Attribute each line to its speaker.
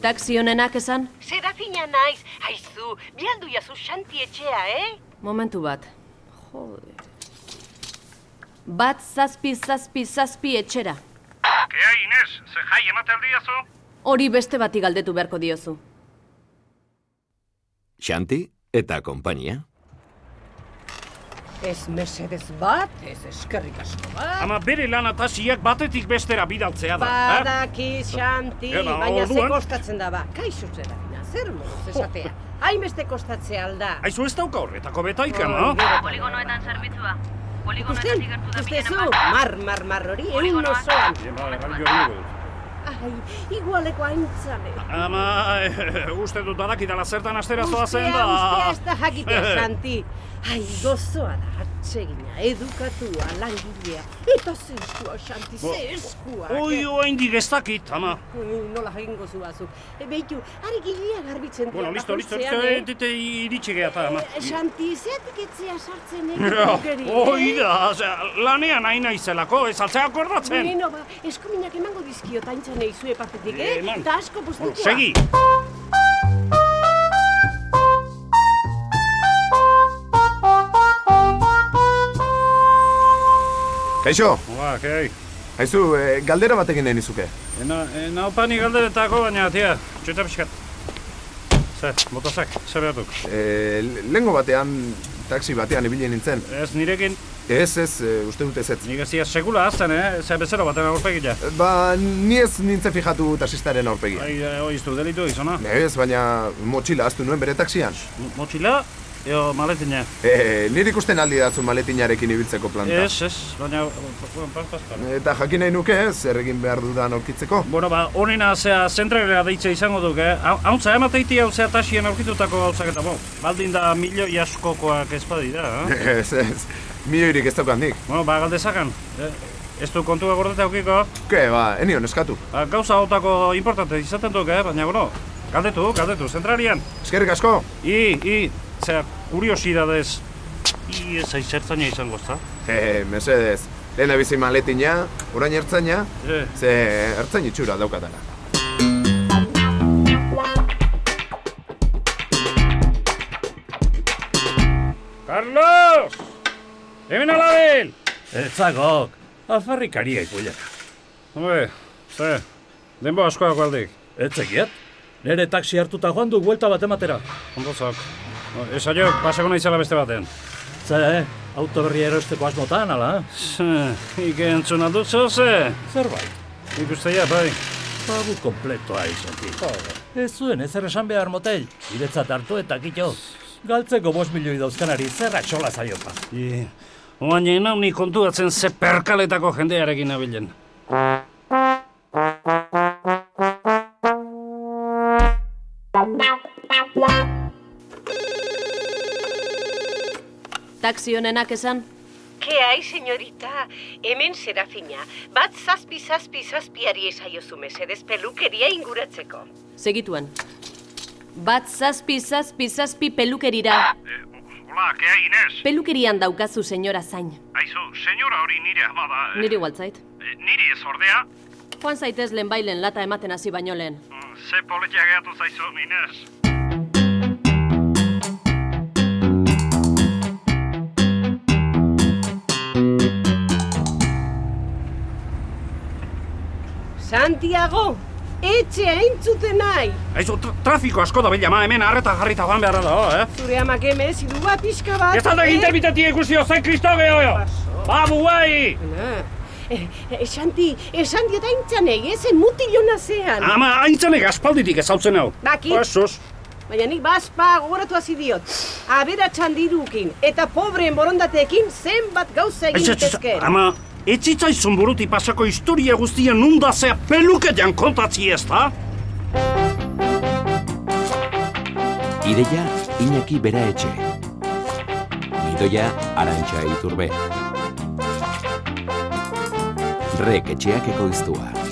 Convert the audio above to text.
Speaker 1: Taxi honenak esan?
Speaker 2: Serafina naiz, haizu, bialdu jazu xanti etxea, eh?
Speaker 1: Momentu bat. Jode. Bat zazpi, zazpi, zazpi etxera.
Speaker 3: Kea Inez, ze jai ematen diazu?
Speaker 1: Hori beste bati galdetu beharko diozu.
Speaker 4: Xanti eta konpainia.
Speaker 5: Ez mesedez bat, ez eskerrik asko bat.
Speaker 3: Ama bere lan atasiak batetik bestera bidaltzea da. Ah,
Speaker 5: Ba,
Speaker 3: eh?
Speaker 5: Badaki, Xanti,
Speaker 3: Eba,
Speaker 5: baina ze
Speaker 3: orduan- Oh.
Speaker 5: kostatzen da ba. Kaixu Serafina, zer moduz esatea. Hainbeste kostatzea alda.
Speaker 3: Aizu ez dauka horretako betaika,
Speaker 5: Oh,
Speaker 3: no?
Speaker 5: gero-
Speaker 6: Poligonoetan zerbitzua.
Speaker 5: Ikusten,
Speaker 6: Poligonoetatik gertu da
Speaker 5: ikustezu,
Speaker 6: bilenen bat.
Speaker 5: mar, mar, mar hori, eh? egun
Speaker 6: Poligonoak.
Speaker 5: osoan.
Speaker 3: bai, Ama,
Speaker 5: Ai, igualeko aintzale.
Speaker 3: eh, uste dut badakitala zertan astera zoazen
Speaker 5: Ustea,
Speaker 3: da.
Speaker 5: ustea ez da jakitea,
Speaker 3: Eh,
Speaker 5: Santi. Ai, gozoa da, hartzegina, edukatua, langilea. Eta ze eskua, Santi,
Speaker 3: Bo-
Speaker 5: ze eskua.
Speaker 3: Oi, oaindik ez dakit, ama.
Speaker 5: Ui, nola jakingo zu bazu. E, Beitu, ari gilea garbitzen
Speaker 3: Bueno, listo, listo, listo,
Speaker 5: bakoitzean, eh?
Speaker 3: etete iritsi geha eta, ama.
Speaker 5: Eh, Santi, zeatik etzea sartzen eh?
Speaker 3: Ja,
Speaker 5: egin.
Speaker 3: Hoi da, ze, lanean haina izelako, ez altzea akordatzen.
Speaker 5: Bueno, ba, eskuminak emango dizkio taintzan eizue partetik, eh?
Speaker 3: Eman.
Speaker 5: Eta asko
Speaker 3: Bueno,
Speaker 5: postutua.
Speaker 3: segi.
Speaker 7: Kaixo,
Speaker 3: Ba, kei.
Speaker 7: haizu, eh, galdera batekin nahi nizuke.
Speaker 3: Ena, ena opani galderetako baina, tia, txuta pixkat. Zer, botazak, zer behar duk.
Speaker 7: E, lengo batean, taxi batean ibili nintzen.
Speaker 3: Ez nirekin,
Speaker 7: Ez, ez, eh, uste dut ez ez.
Speaker 3: nik ez dira sekula azten, eh? Zer bezero baten aurpegia.
Speaker 7: Ba, ni ez nintzen fijatu taxistaren aurpegi.
Speaker 3: Bai, eh, oiztu, delitu izona.
Speaker 7: Ez, baina motxila aztu nuen bere taxian.
Speaker 3: Mo- Motxila, eo maletina.
Speaker 7: E, nire ikusten aldi dazu maletinarekin ibiltzeko planta.
Speaker 3: Ez, ez, baina... bueno, pas, pas, pas.
Speaker 7: Eta jakin nahi nuke ez, errekin behar dudan aurkitzeko.
Speaker 3: Bueno, ba, honena zea zentralera deitze izango duk, eh? Hau- Hauntza emateiti hau zea tasien aurkitutako hauzak eta bo. Baldin da milioi askokoak ez badira, eh?
Speaker 7: Ez, ez, milioirik ez daukan nik.
Speaker 3: bueno, ba, galdezakan. Eh? Ez du kontua gordeta aukiko.
Speaker 7: Ke, ba, enion eskatu.
Speaker 3: Ba, gauza hotako importante izaten duk, eh? Baina, bueno, galdetu, galdetu, zentralian.
Speaker 7: Eskerrik asko,
Speaker 3: I, i, zea, kuriosidadez. I, ez aizertzaina izango, ezta?
Speaker 7: e, mesedez. Lehen bizi maletina, orain ertzaina,
Speaker 3: Eh.
Speaker 7: ze ertzain itxura daukatana.
Speaker 3: Carlos! Hemen alabil!
Speaker 8: Etzagok, alfarrikaria ipuilera.
Speaker 3: Hombre, ze, denbo askoak aldik.
Speaker 8: Etzekiet, nire taksi hartuta joan du buelta bat ematera.
Speaker 3: Ondo zauk. Ez aio, pasako naizela beste baten.
Speaker 8: Ze, auto berria erosteko asmotan, ala?
Speaker 3: Ike entzun alduzu, ze?
Speaker 8: Zerbait,
Speaker 3: Ikusteia, bai.
Speaker 8: babu kompletoa izan Ez zuen, ezer esan behar motel, iretzat hartu eta kito. Galtzeko bost milioi dauzkanari zer atxola zaiopa.
Speaker 3: I, Oain egin hau ni kontuatzen ze perkaletako jendearekin abilen.
Speaker 1: Taxi honenak esan?
Speaker 5: Ke hai, señorita, hemen Serafina, bat zazpi zazpi zazpiari esaiozu mesedez pelukeria inguratzeko.
Speaker 1: Segituan. Bat zazpi, zazpi, zazpi pelukerira.
Speaker 3: Hola, kea Inez.
Speaker 1: Pelukerian daukazu senyora zain.
Speaker 3: Aizu, senyora hori nire ama da. eh?
Speaker 1: Niri gualtzait.
Speaker 3: Eh, Niri ez ordea.
Speaker 1: Joan zaitez lehenbailen lata ematen hasi baino lehen.
Speaker 3: Mm, Ze politia gehatu zaizu, Inez.
Speaker 5: Santiago, etxea entzuten nahi.
Speaker 3: Aizu, tra- trafiko asko da bila, ma hemen harreta jarrita joan beharra dago, eh?
Speaker 5: Zure amak emez, irua pixka bat.
Speaker 3: Ez aldo
Speaker 5: eh?
Speaker 3: intermitetia ikusi ozen kristo Ba, gehoio! Babu, guai!
Speaker 5: Na, eh, eh, Santi, esan diot aintzanei, ezen mutilona zean.
Speaker 3: Ama, haintzanek aspalditik ezautzen hau. Ba,
Speaker 5: Dakit.
Speaker 3: Pasos.
Speaker 5: Baina nik bazpa gogoratu hasi diot. Aberatxan dirukin eta pobreen borondateekin zenbat gauza egin
Speaker 3: Aiz, aiz, aiz,
Speaker 5: daitezke.
Speaker 3: Ama, etzitzaizun buruti pasako historia guztia nunda zea peluketan kontatzi ez da?
Speaker 4: Ideia Iñaki Bera Etxe. Gidoia Arantxa Iturbe. Rek etxeak ekoiztua.